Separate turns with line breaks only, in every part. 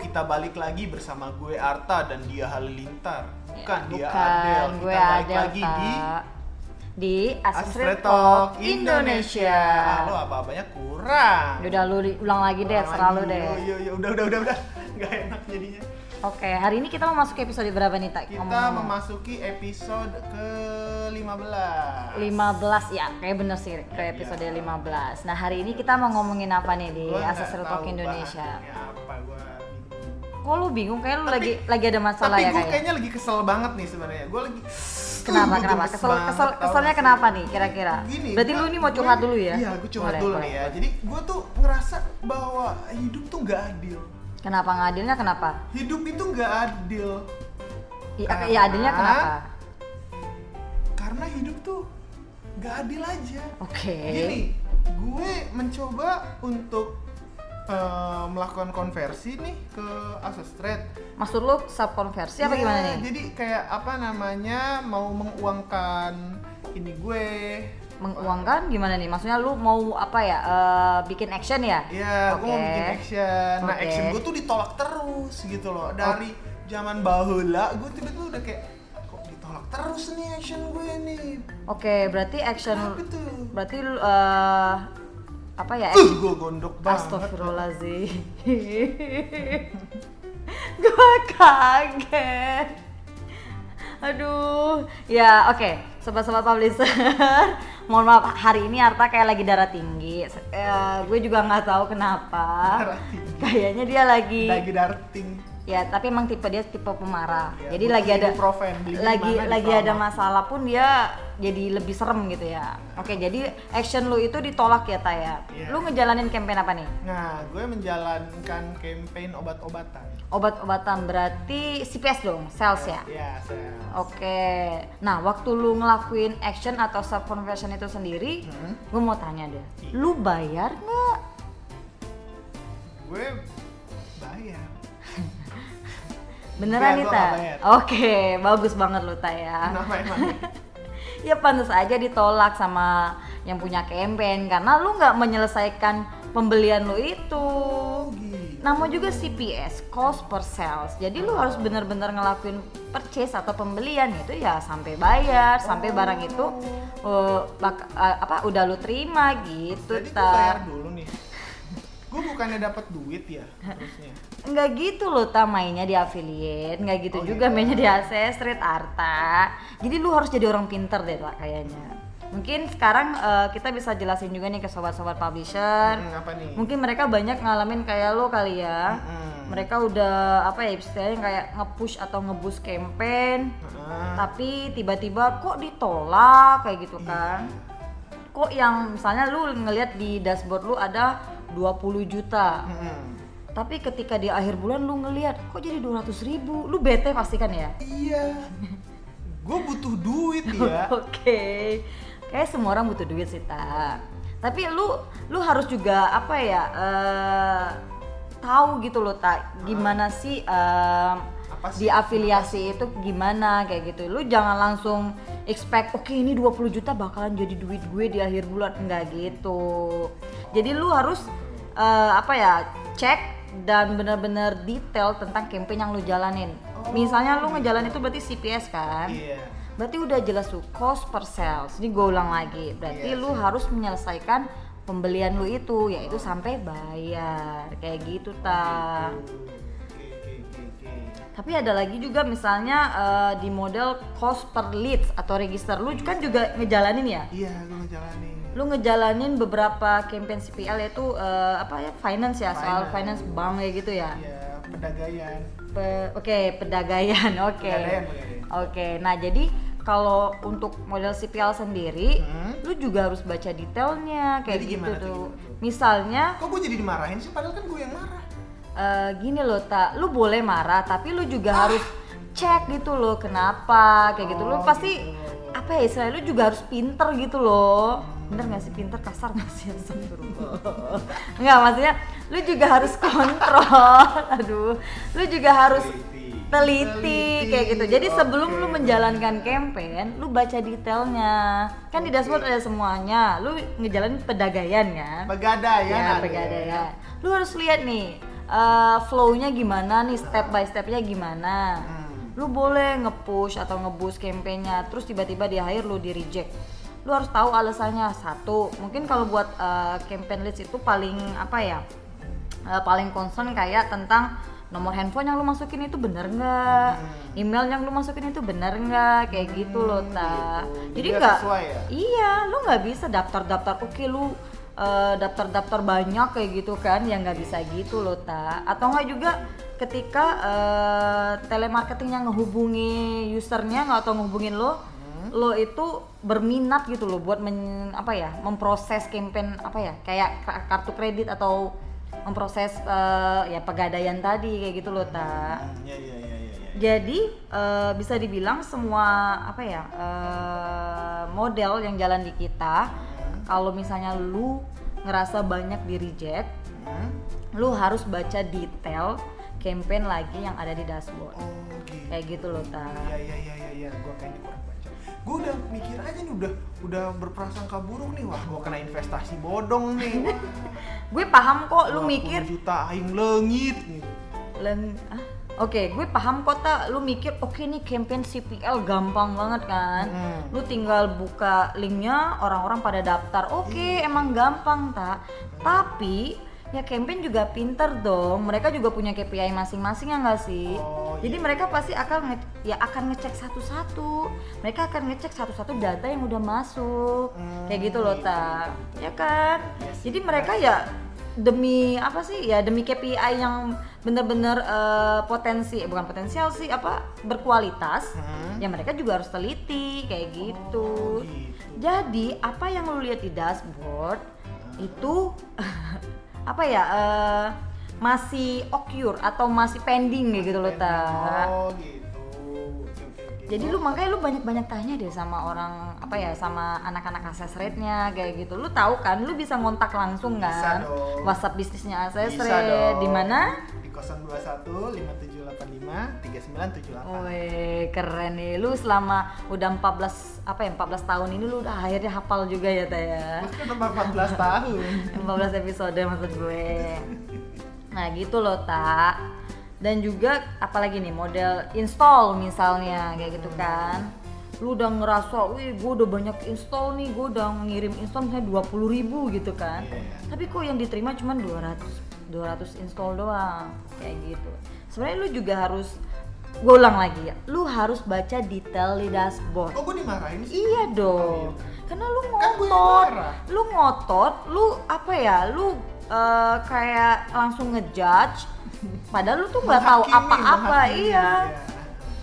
kita balik lagi bersama gue Arta dan dia Halilintar. Bukan dia
Bukan,
Adel. Kita
gue
balik
Adel
lagi di
Pak. di
Astrid
Astrid
Talk
Talk
Indonesia. Ah, Lo apa apanya kurang.
Udah lu di- ulang lagi deh, selalu
Aduh,
deh.
Iya iya udah udah udah udah. Gak enak jadinya.
Oke, hari ini kita mau masuk ke episode berapa nih, Tak?
Kita memasuki episode ke-15.
15 ya, kayak bener sih
Iya.
ke episode 15. Nah, hari ini kita mau ngomongin apa nih di
Gue nggak
Astrid
tahu
Talk Indonesia?
bahannya Apa gua bingung.
Kok lu bingung? Kayak lu
Tapi-
lagi lagi ada masalah
Tapi
ya
gue
kayaknya.
kayaknya lagi kesel banget nih sebenarnya. Gue lagi
Kenapa?
Gue
Kenapa?
gemes
Kesel,
banget,
kesel,
tau
keselnya
gak sih?
kenapa nih kira-kira?
Gini,
Berarti
gua-
lu ini mau
gue-
curhat dulu ya?
Iya, gue curhat
Boleh,
dulu
boleh.
nih ya. Jadi gue tuh ngerasa bahwa hidup tuh nggak adil.
Kenapa ngadilnya kenapa?
Hidup itu nggak adil
Iya,
Karena-
iya, adilnya kenapa?
karena hidup tuh nggak adil aja.
Oke.
Gini, gue mencoba untuk eh, melakukan konversi nih ke Asestrade.
Maksud lu subkonversi apa
Iya,
gimana nih?
Jadi kayak apa namanya mau menguangkan ini gue.
menguangkan gimana nih? Maksudnya lu mau apa ya? eh, bikin action ya?
Iya, gue mau
Oke.
bikin action. Nah,
Oke.
action gue tuh ditolak terus gitu loh. Dari zaman bahula gue tiba-tiba udah kayak kok ditolak terus nih action gue nih.
Oke, berarti action
Apa tuh?
berarti lu, eh, apa ya?
Uh, gue gondok banget.
Astagfirullahaladzim Gue kaget Aduh Ya oke Sobat-sobat publisher Mohon maaf hari ini Arta kayak lagi darah tinggi Se- eh, Gue juga nggak tahu kenapa
Darah tinggi.
Kayaknya dia lagi
Lagi darting.
Ya tapi emang tipe dia tipe pemarah
Ya,
Jadi
gua
lagi
beli
ada
ibuprofen, beli di
lagi
mana, di
lagi
Prama.
ada masalah pun dia jadi lebih serem gitu ya Oke jadi action lu itu ditolak ya Taya
Iya.
Lu ngejalanin campaign apa nih?
Nah, gue menjalankan campaign obat-obatan.
obat-obatan berarti CPS dong sales ya
Iya, saya.
oke nah waktu lu ngelakuin action atau sub conversion itu sendiri
Hmm.
gue mau tanya deh
Iya.
lu bayar nggak
Gue bayar. Enggak,
beneran nih
gua
ta
nggak bayar.
oke bagus banget lu ta ya
Kenapa emang?
ya pantas aja ditolak sama yang punya campaign karena lu nggak menyelesaikan pembelian lu itu
gitu.
Nama juga CPS, cost per sales. Jadi lu harus bener-bener ngelakuin purchase atau pembelian itu ya sampai bayar, sampai barang itu eh, bak- eh, apa udah lu terima gitu.
Jadi gue
Ta.
bayar dulu nih. gue bukannya dapat duit ya harusnya.
Nggak gitu loh ta mainnya di affiliate, nggak gitu
Oh,
juga
gitu.
mainnya di AC Street Arta. Jadi lu harus jadi orang pinter deh ta kayaknya. Mungkin sekarang eh, kita bisa jelasin juga nih ke sobat-sobat publisher.
Hmm, apa nih? Hmm.
Mungkin mereka banyak ngalamin kayak lo kali ya.
Mm-mm.
mereka udah apa ya istilahnya kayak nge-push atau nge-boost campaign
Heeh.
tapi tiba-tiba kok ditolak kayak gitu kan kok yang misalnya lu ngelihat di dashboard lu ada 20 juta
Mm-mm.
tapi ketika di akhir bulan lu ngelihat kok jadi 200 ribu lu bete pasti kan ya
Iya. gue butuh duit ya.
oke kayak semua orang butuh duit sih ta tapi lu lu harus juga apa ya eh, tahu gitu loh ta gimana sih em,
Ah. Apa sih?
di afiliasi itu gimana kayak gitu lu jangan langsung expect oke ini 20 juta bakalan jadi duit gue di akhir bulan enggak gitu jadi lu harus eh, apa ya cek dan bener-bener detail tentang campaign yang lu jalanin misalnya lu ngejalan itu berarti CPS kan
Oh. Iya.
Berarti udah jelas tuh cost per sales. Ini gue ulang lagi. Berarti
Iya
lu harus menyelesaikan pembelian lu itu yaitu sampai bayar kayak gitu ta.
Oke, oke, oke, oke.
Tapi ada lagi juga misalnya eh, di model cost per leads atau register lu kan juga ngejalanin ya.
Iya, gue ngejalanin.
Lu ngejalanin beberapa campaign CPL yaitu eh, apa ya finance ya soal
Finance.
finance bank ya gitu ya.
Iya, pedagaian.
Pe- oke pedagaian oke
Pegadaian,
oke
pegadaian.
nah jadi kalau untuk model CPL sendiri
Hmm.
lu juga harus baca detailnya kayak
Jadi
gitu
gimana tuh,
tuh
gimana tuh?
misalnya
Kok gue jadi dimarahin sih? Padahal kan gue yang marah.
eh, gini loh tak lu boleh marah tapi lu
Ah.
juga harus cek gitu loh kenapa kayak gitu lu
Oh,
pasti
gitu.
apa ya istilahnya lu juga harus pinter gitu loh bener gak sih pinter kasar gak sih Astagfirullah. nggak maksudnya lu juga harus kontrol aduh lu juga harus
Teliti.
teliti,
Teliti,
kayak gitu. Jadi sebelum
oke.
lu menjalankan campaign, lu baca detailnya. Kan di dashboard ada semuanya. Lu ngejalanin pedagaian kan?
Pegadaian.
ya,
ada.
pegadaian. Lu harus lihat nih eh, flow-nya gimana nih, step by step-nya gimana.
Hmm.
Lu boleh nge-push atau nge-boost campaign-nya, terus tiba-tiba di hire lu di reject. Lu harus tahu alasannya. Satu, mungkin kalau buat eh, campaign leads itu paling apa ya? eh, paling concern kayak tentang nomor handphone yang lu masukin itu bener nggak,
Hmm.
email yang lu masukin itu bener nggak, kayak gitu loh ta.
gitu. Jadi
Jadi
nggak
nggak,
sesuai ya?
iya, lu nggak bisa daftar-daftar. Oke lu eh, daftar-daftar banyak kayak gitu kan, ya nggak bisa gitu loh ta. Atau nggak juga ketika eh, telemarketing yang ngehubungi usernya nggak atau ngehubungin lo, lo itu berminat gitu loh buat men, apa ya memproses campaign apa ya kayak k- kartu kredit atau memproses eh, ya pegadaian tadi kayak gitu loh ta
Hmm, Iya iya iya iya. iya.
jadi eh, bisa dibilang semua apa ya eh, model yang jalan di kita kalau misalnya lu ngerasa banyak di reject
Hmm?
lu harus baca detail campaign lagi yang ada di dashboard
Oh gitu.
kayak gitu loh ta
Iya iya iya iya iya, gua kayaknya kurang baca. Gua udah mikir aja nih udah udah berprasangka buruk nih wah gua kena investasi bodong nih. Wah,
gue paham kok lu
20
mikir
juta aing leungit gitu.
Leng- ah, Oke, gue paham kok Ta. lu mikir oke nih campaign CPL gampang banget kan.
Hmm.
Lu tinggal buka linknya, orang-orang pada daftar. Oke,
Hmm.
emang gampang tak. Tapi ya campaign juga pinter dong. Mereka juga punya KPI masing-masing ya nggak sih?
Oh,
Jadi mereka pasti akan nge- ya akan ngecek satu-satu. Mereka akan ngecek satu-satu data yang udah masuk.
Hmm,
Kayak gitu loh
iya,
tak. Ya kan?
Yes.
Jadi mereka ya demi apa sih ya demi KPI yang bener-bener eh, potensi eh, bukan potensial sih apa berkualitas
Hmm.
ya mereka juga harus teliti kayak gitu.
Oh, gitu.
Jadi apa yang lu lihat di dashboard itu apa ya eh, masih occur atau masih pending gitu loh ta.
Oh gitu. Oke, oke, oke.
Jadi lu makanya lu banyak-banyak tanya deh sama orang apa ya sama anak-anak akses rate-nya kayak gitu. Lu tahu kan, lu bisa ngontak langsung
Bisa
kan
dong.
WhatsApp bisnisnya akses
Bisa
rate
dong.
di mana?
di 021 5785 3978.
Oh, iya. Wih, keren nih. Lu selama udah 14 apa ya 14 tahun ini lu udah akhirnya hafal juga ya Taya.
Kan nomor 14 tahun.
14 episode maksud gue. Nah, gitu loh, Tak. Dan juga apalagi nih model install misalnya kayak
Hmm.
gitu kan. Lu udah ngerasa, "Wih, gue udah banyak install nih, gue udah ngirim install misalnya 20 ribu gitu kan."
Iya.
Tapi kok yang diterima cuma 200 200 install doang kayak gitu. Sebenarnya lu juga harus gue ulang lagi ya. Lu harus baca detail di dashboard.
Kok gue dimarahin sih?
Iya dong. Karena lu
Kan gue yang
ngotot,
marah.
lu ngotot, lu apa ya, lu eh, kayak langsung ngejudge. Padahal lu tuh nggak tahu
Menghakimi,
apa-apa,
menghakimi,
iya.
iya.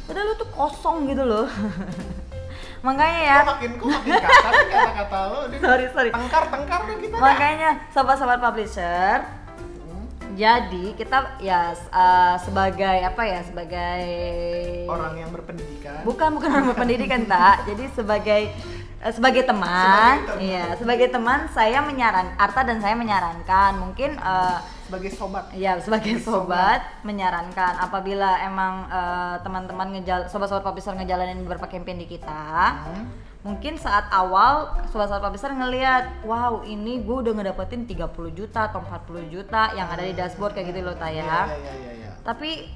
Padahal lu tuh kosong gitu loh. Makanya ya,
Kok makin kok makin kasar sih kata-kata lo Dia
sorry sorry.
tengkar tengkar tuh kita dah.
Makanya sahabat-sahabat publisher,
Hmm.
jadi kita ya eh, sebagai apa ya sebagai
orang yang berpendidikan
Bukan bukan orang berpendidikan tak. Jadi sebagai eh, sebagai teman,
Sebagai teman.
iya sebagai teman saya menyaran Arta dan saya menyarankan mungkin eh,
sebagai sobat
ya
Iya.
sebagai sobat menyarankan apabila emang eh, teman-teman ngejal sobat-sobat publisher ngejalanin beberapa campaign di kita.
Hmm.
Mungkin saat awal sobat-sobat publisher ngelihat, wow ini gue udah ngedapetin 30 juta atau 40 juta yang ada di dashboard kayak gitu loh Taya
Iya, iya, iya, iya.
tapi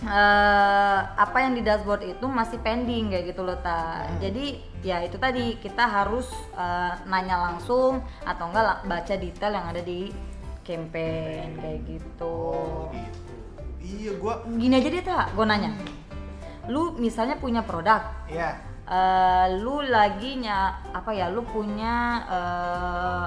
eh, apa yang di dashboard itu masih pending kayak gitu loh ta
Hmm.
jadi ya itu tadi kita harus eh, nanya langsung atau enggak la- baca detail yang ada di campaign kayak gitu
oh gitu iya gua
gini aja deh ta gue nanya lu misalnya punya produk
ya
eh, lu lagi nya apa ya lu punya eh,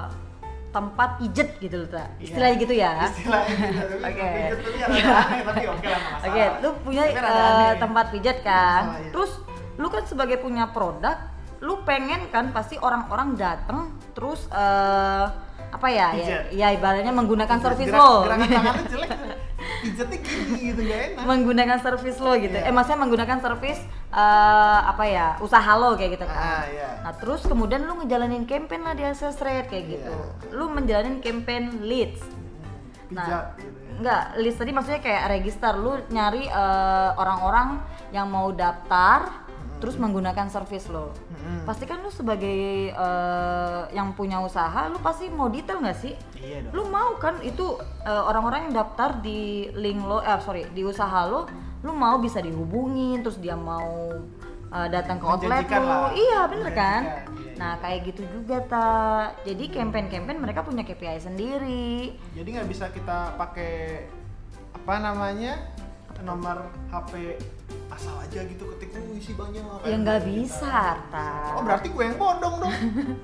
tempat pijet gitu loh ta
Iya.
istilahnya gitu ya
istilahnya gitu. Tapi
Oke.
pijat tuh ya rada aneh, tapi oke lah nggak
Oke,
masalah.
lu punya
Tapi rada
eh,
aneh. ya.
tempat pijat kan.
Masalah, iya.
Terus lu kan sebagai punya produk, lu pengen kan pasti orang-orang datang terus eh, apa ya? Ya,
Pijat.
ya ibaratnya menggunakan servis
Gerak- kan?
lo.
gerakan tangannya jelek pijatnya gini gitu gak enak
menggunakan servis lo gitu.
Iya.
Eh maksudnya menggunakan servis eh, apa ya? Usaha lo kayak gitu kan.
ah ya
Nah, terus kemudian lu ngejalanin campaign lah di access rate
Iya.
kayak gitu. Lu menjalanin campaign leads.
pijat gitu ya.
Nah, Enggak, list
Hmm.
tadi maksudnya kayak register lu nyari eh, orang-orang yang mau daftar terus menggunakan service lo
Mm-mm.
pasti kan lu sebagai eh, yang punya usaha lu pasti mau detail nggak sih
Iya dong.
lu mau kan itu eh, orang-orang yang daftar di link lo eh sorry di usaha lo lu mau bisa dihubungin terus dia mau eh, datang ke outlet
Menjanjikan
lo
lah.
iya bener kan
Menjanjikan, iya,
nah kayak gitu juga ta jadi campaign-campaign mereka punya KPI sendiri
Jadi nggak bisa kita pakai apa namanya nomor HP asal aja gitu ketik "Uh, isi banyak.
ya
kayak
nggak
gitu.
bisa ta
Oh berarti gue yang bodong dong.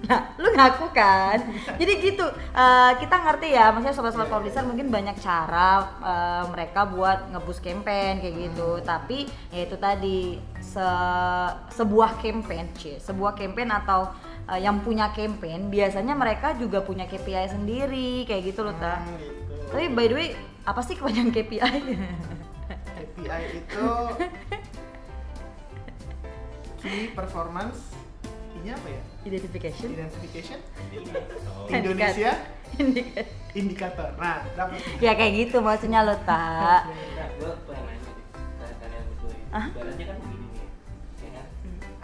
Nah, lu ngaku kan? Jadi gitu, eh, kita ngerti ya, maksudnya sobat-sobat publisher mungkin banyak cara eh, mereka buat ngebus campaign kayak gitu. Tapi ya itu tadi se- sebuah campaign, cie, sebuah campaign atau eh, yang punya campaign biasanya mereka juga punya KPI sendiri kayak gitu loh, ta.
Hmm, gitu.
Tapi by the way, apa sih kepanjangan KPI?
KPI itu key performance nya apa ya?
Identification.
Identification
Indikat-
Indonesia
Indikat.
indikator. Nah, dapat
ya kayak gitu maksudnya lo, tak.
Iya.
Nah, gue pengen nanya deh ke kalian berdua ini.
Hah?
Ibaratnya kan begini nih, ya kan?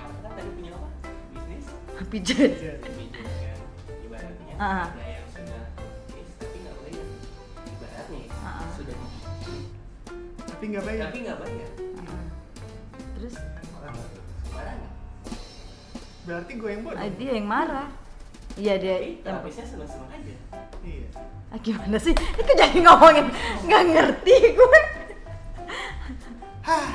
Apa kan tadi punya apa? Bisnis?
Pijet.
Bisnis kan? Ibaratnya,
Ah.
nah yang sudah bisnis tapi nggak bayar. Ibaratnya
Ah.
sudah bisnis
tapi nggak bayar.
tapi nggak bayar.
Hmm.
Terus
Sembarangan.
Berarti gue yang
Ah,
bodong.
dia yang marah iya dia
Tapi
yang
habisnya seneng-seneng aja.
Iya.
ah, gimana sih itu jadi ngomongin nggak ngerti gue
Hah,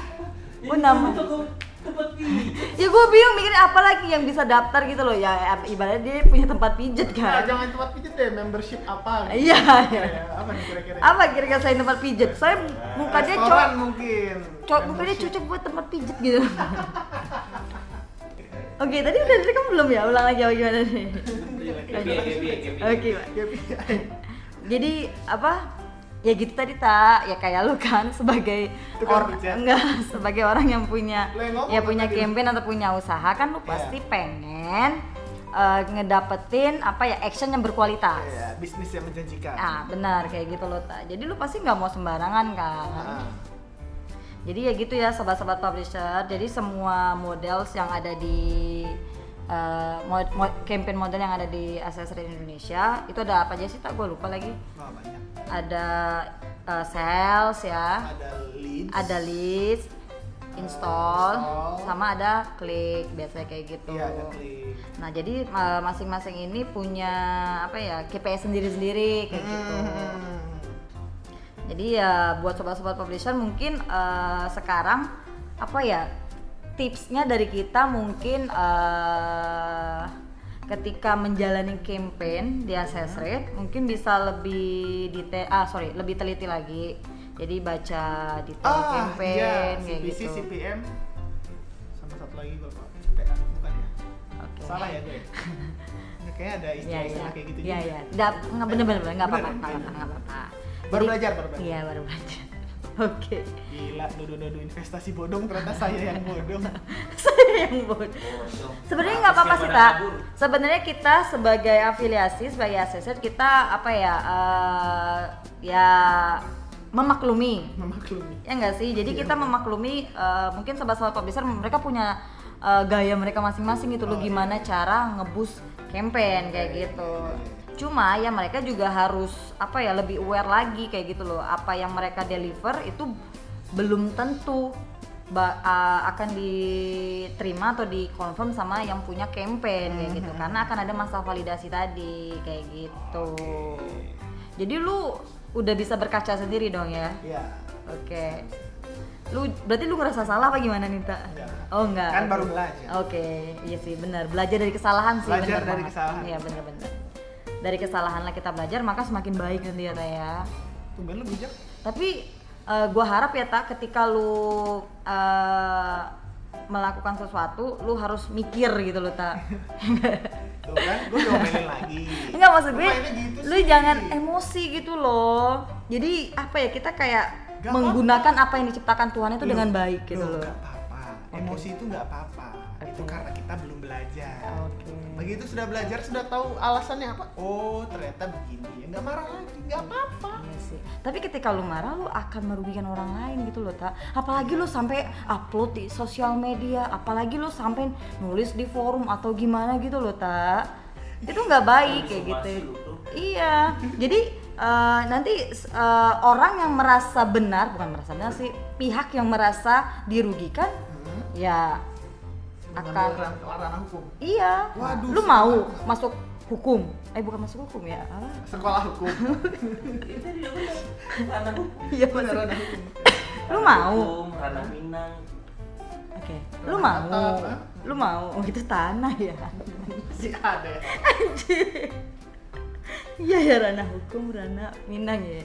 Oh, nama.
Jadi, toko tempat pijat.
ya gue bingung mikirin apa lagi yang bisa daftar gitu loh ya ibaratnya dia punya tempat pijet
nah,
kan
jangan tempat pijet deh, membership apa? gitu.
iya iya.
Ya, ya, apa nih kira-kira?
apa kira-kira saya tempat pijet saya muka dia
Restoran
cocok
mungkin.
cocok muka dia cocok buat tempat pijet gitu Oke, tadi udah direkam belum ya? Ulang lagi apa gimana nih?
Gebi, gebi, gebi.
Oke, Pak.
KPI.
jadi apa ya gitu tadi tak ya kayak lu kan sebagai
Tukang
orang
pijat.
enggak sebagai orang yang punya
Lu yang ngomong
ya punya
tadi.
campaign atau punya usaha kan lu
Iya.
pasti pengen eh, ngedapetin apa ya action yang berkualitas
Ya, bisnis yang menjanjikan.
ah benar kayak gitu loh tak jadi lu pasti nggak mau sembarangan kan
Ah.
jadi ya gitu ya sobat-sobat publisher. Jadi semua models yang ada di eh, mod, mod- campaign model yang ada di Accessory Indonesia itu ada apa aja sih tak gue lupa lagi.
Wah, banyak.
Ada eh, sales ya,
Ada leads.
ada list, install,
Install.
sama ada klik biasanya kayak gitu.
Iya, ada klik.
Nah jadi eh, masing-masing ini punya apa ya KPI sendiri-sendiri kayak gitu.
Hmm.
Jadi ya buat sobat-sobat publisher mungkin eh, sekarang apa ya tipsnya dari kita mungkin eh, ketika menjalani campaign di assess
Hmm.
rate mungkin bisa lebih detail ah sorry lebih teliti lagi. Jadi baca detail
Ah,
campaign kayak
iya, CPC,
gitu.
CPM. Sama satu lagi gue lupa. CPA, bukan ya?
Oke.
Salah ya gue. Nah, Kayaknya ada
Iya iya.
istilah-istilah kayak gitu
Iya
juga.
iya. Nggak- nggak bener-bener nggak apa-apa
Bener,
nggak
bener.
apa-apa, nggak apa-apa. Jadi-
Baru belajar, baru belajar.
Iya baru belajar. Oke.
Gila, nudu-nudu investasi bodong ternyata saya yang bodong.
Saya yang bodoh.
Bocong.
Sebenarnya
Habis
nggak apa-apa
yang
sih
pada
tak.
kabur.
Sebenarnya kita sebagai afiliasi, sebagai asesor kita apa ya eh, ya memaklumi
Memaklumi.
ya nggak sih. Jadi
Iya.
kita memaklumi eh, mungkin sobat-sobat publisher mereka punya eh, gaya mereka masing-masing gitu loh
Oh,
gimana cara ngebus campaign kayak
Iya, iya,
gitu.
iya,
Cuma ya mereka juga harus apa ya lebih aware lagi kayak gitu loh. Apa yang mereka deliver itu belum tentu ba- a- akan diterima atau dikonfirm sama yang punya campaign kayak gitu
Mhm.
karena akan ada masa validasi tadi kayak gitu. Jadi lu udah bisa berkaca sendiri dong ya.
Iya.
Oke. Lu berarti lu ngerasa salah apa gimana nih, Tak?
Enggak.
Oh, enggak.
Kan baru belajar.
Oke, iya sih benar. Belajar dari kesalahan sih
Belajar
bener
dari
banget.
kesalahan.
Iya, benar-benar. Dari kesalahan lah kita belajar, maka semakin baik nanti ya, Ta ya.
Tumben lu bijak.
Tapi eh, gua harap ya, Tak, ketika lu eh, melakukan sesuatu, lu harus mikir gitu loh, Tak.
Tuh kan, gue diomelin lagi.
Enggak maksud gue,
Lu mainnya gitu
lu
sih.
jangan emosi gitu loh. Jadi apa ya kita kayak
Nggak
menggunakan apa yang diciptakan Tuhan itu dengan baik gitu
Lu
loh.
nggak apa-apa. emosi itu nggak apa-apa itu
Oke.
karena kita belum belajar
Oke.
begitu sudah belajar sudah tahu alasannya apa oh ternyata begini ya nggak marah lagi nggak apa-apa
Iya sih. Tapi ketika lu marah lu akan merugikan orang lain gitu loh, tak. Apalagi lu sampai upload di sosial media, apalagi lu sampai nulis di forum atau gimana gitu loh, tak. Itu nggak baik kayak gitu.
Somasi lu tuh.
Iya. Jadi eh, nanti eh, orang yang merasa benar, bukan merasa benar sih, pihak yang merasa dirugikan
hmm.
ya
Mengambil
akan
ran- ranah hukum
Iya.
Waduh,
lu
sih.
mau masuk hukum? Eh bukan masuk hukum ya. Apa?
sekolah hukum
Itu tadi udah bener. Ranah hukum.
Iya
Bener,
masuk.
ranah hukum
Lu
Ranah
mau?
hukum, Ranah Minang.
Oke. Lu
Tanah
mau?
atap, ah?
Lu mau? Oh, itu tanah ya.
si ada ya
Iya ya ranah hukum, ranah minang ya.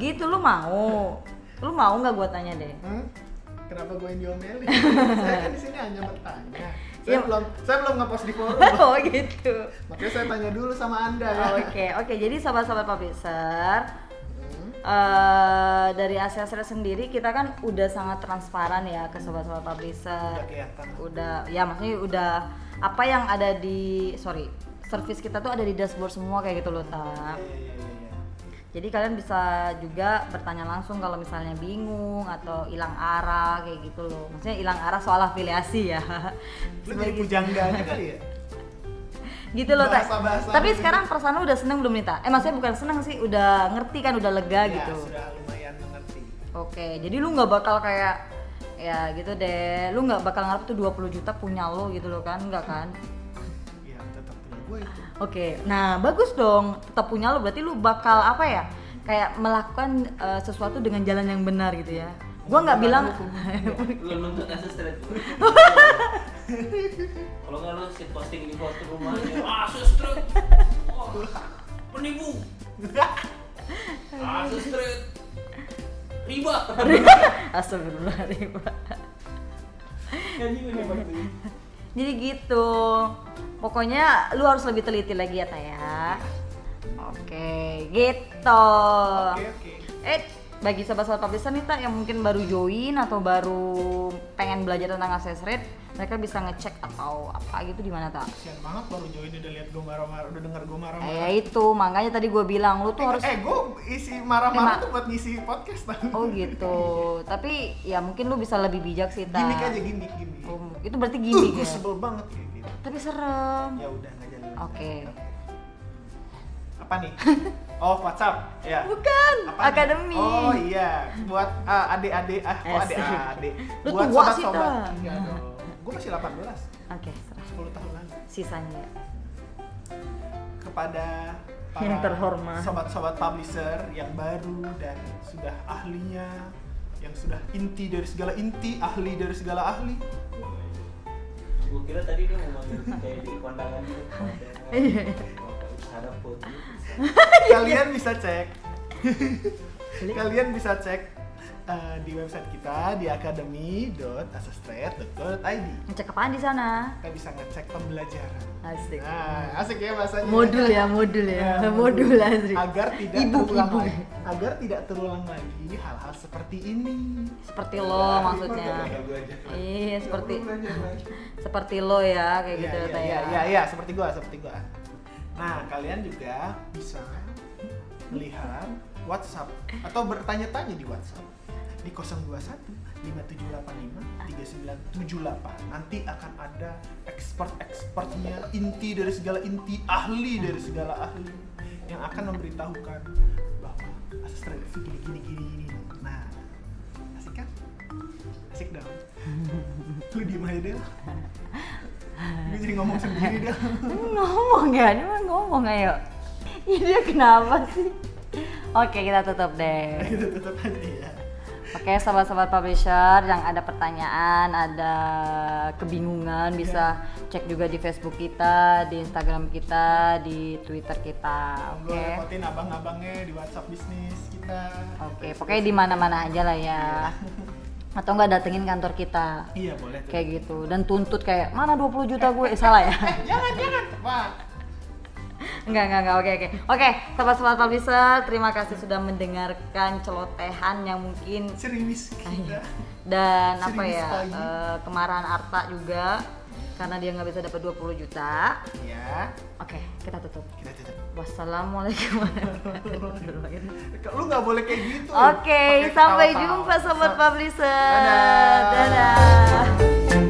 Gitu lu mau? Lu mau nggak gua tanya deh?
Hmm? Kenapa gue yang diomelin? saya kan di sini hanya bertanya. Saya
Iya.
belum saya belum ngepost di forum.
Oh gitu.
Makanya saya tanya dulu sama Anda ya.
Oke, oke. Jadi sahabat-sahabat publisher,
Hmm.
eh dari Asia-Asia sendiri kita kan udah sangat transparan ya ke sobat-sobat publisher.
Udah kelihatan.
udah ya maksudnya udah apa yang ada di sorry service kita tuh ada di dashboard semua kayak gitu loh
Iya,
tam
iya, iya, iya.
jadi kalian bisa juga bertanya langsung kalau misalnya bingung atau hilang arah kayak gitu loh maksudnya hilang arah soal afiliasi ya
Lu jadi
Sebagai-
pujangganya kali
Iya,
ya?
gitu loh Tam.
bahasa-bahasa.
tapi sekarang perasaan lu udah seneng belum Nita? eh maksudnya bukan seneng sih udah ngerti kan udah lega
ya,
gitu
sudah lumayan mengerti.
Oke, jadi lu nggak bakal kayak ya gitu deh, lu nggak bakal ngarep tuh 20 juta punya lo gitu loh kan, nggak kan?
Ya, tetap punya gue itu.
Oke, nah bagus dong. Tetap punya lo berarti lu bakal apa ya? Kayak melakukan eh, sesuatu dengan jalan yang benar gitu ya. Gua nggak bilang
Lu nuntut aja straight. Kalau nggak lu sit posting di post rumahnya. Ah, straight. Wah, penipu.
Iya.
Ah, straight. Riba.
astagfirullahaladzim.
Kan ini udah bagus.
Jadi gitu. Pokoknya lu harus lebih teliti lagi ya, Taya. Oke, gitu.
Oke, oke.
Eh, bagi sahabat-sahabat publisher nih, Tak, yang mungkin baru join atau baru pengen belajar tentang access rate, mereka bisa ngecek atau apa gitu di mana, Tak?
Kasian banget baru join udah lihat gue marah-marah, udah denger gue marah-marah.
Eh itu makanya tadi gue bilang lu tuh harus
Eh, gue isi marah-marah
Lima.
tuh buat ngisi podcast tau.
oh gitu. Tapi ya mungkin lu bisa lebih bijak sih ta.
Gimik aja gimik, gimik.
Oh, itu berarti
Ih,
gini
gue
ya.
sebel banget kayak gitu.
Tapi serem.
Ya udah nggak jadi.
Oke.
Apa nih? Oh WhatsApp ya.
Bukan
Apa nih?
akademi.
Oh iya, buat ah, adik-adik ah kok
Asik.
adik-adik.
Lu
buat
tua sih,
sobat-sobat.
Ta.
Enggak dong. Gue masih 18,
Oke, serem.
10 tahun lagi.
Sisanya.
Kepada para
Yang terhormat.
sobat-sobat publisher yang baru dan sudah ahlinya, yang sudah inti dari segala inti, ahli dari segala ahli.
Gue kira tadi dia mau manggil kayak di kondangan gitu.
Iya.
Harap putih.
Kalian bisa cek kalian bisa cek eh, di website kita di academy.asestrate.id
Ngecek apaan di sana?
kita bisa ngecek pembelajaran
Asik.
nah asik ya bahasanya Nah,
Modul ya, modul ya. Modul asik.
agar tidak
Ibu,
terulang
ibu.
lagi agar tidak terulang lagi hal-hal seperti ini
Seperti lo maksudnya. Iya, seperti seperti lo ya kayak gitu
ya,
Taya.
ya, ya, ya, seperti gua, seperti gua. Nah, kalian juga bisa melihat WhatsApp atau bertanya-tanya di WhatsApp di 021 5785 3978. Nanti akan ada expert-expertnya, inti dari segala inti, ahli dari segala ahli yang akan memberitahukan bahwa asisten itu gini gini gini gini. Nah, asik kan? Asik dong. Lu diem aja deh. Gue jadi ngomong sendiri dah.
ngomong ya, dia mah ngomong ayo. Ini dia kenapa sih? Oke, kita tutup deh.
Kita tutup aja ya.
Oke, sahabat-sahabat publisher yang ada pertanyaan, ada kebingungan bisa cek juga di Facebook kita, di Instagram kita, di Twitter kita. Oke.
Gue repotin abang-abangnya di WhatsApp bisnis kita.
Oke, pokoknya di mana-mana aja lah ya. Atau enggak datengin kantor kita.
Iya boleh. tuh.
Kayak gitu dan tuntut kayak mana 20 juta gue eh, salah ya.
Eh jangan jangan. Wah
Enggak, enggak, enggak. Oke, oke. Oke, sobat-sobat publisher, terima kasih sudah mendengarkan celotehan yang mungkin
Serius
Ah, iya.
kita.
dan apa
Iya. Serius
ya?
pagi.
eh, kemarahan Arta juga karena dia nggak bisa dapat 20 juta.
ya,
Oke, kita tutup.
kita tetap.
Wassalamualaikum warahmatullahi wabarakatuh.
Lu nggak boleh kayak gitu.
Oke,
Pakai
sampai
ketawa-tawa.
jumpa sobat publisher.
Dadah.
Dadah.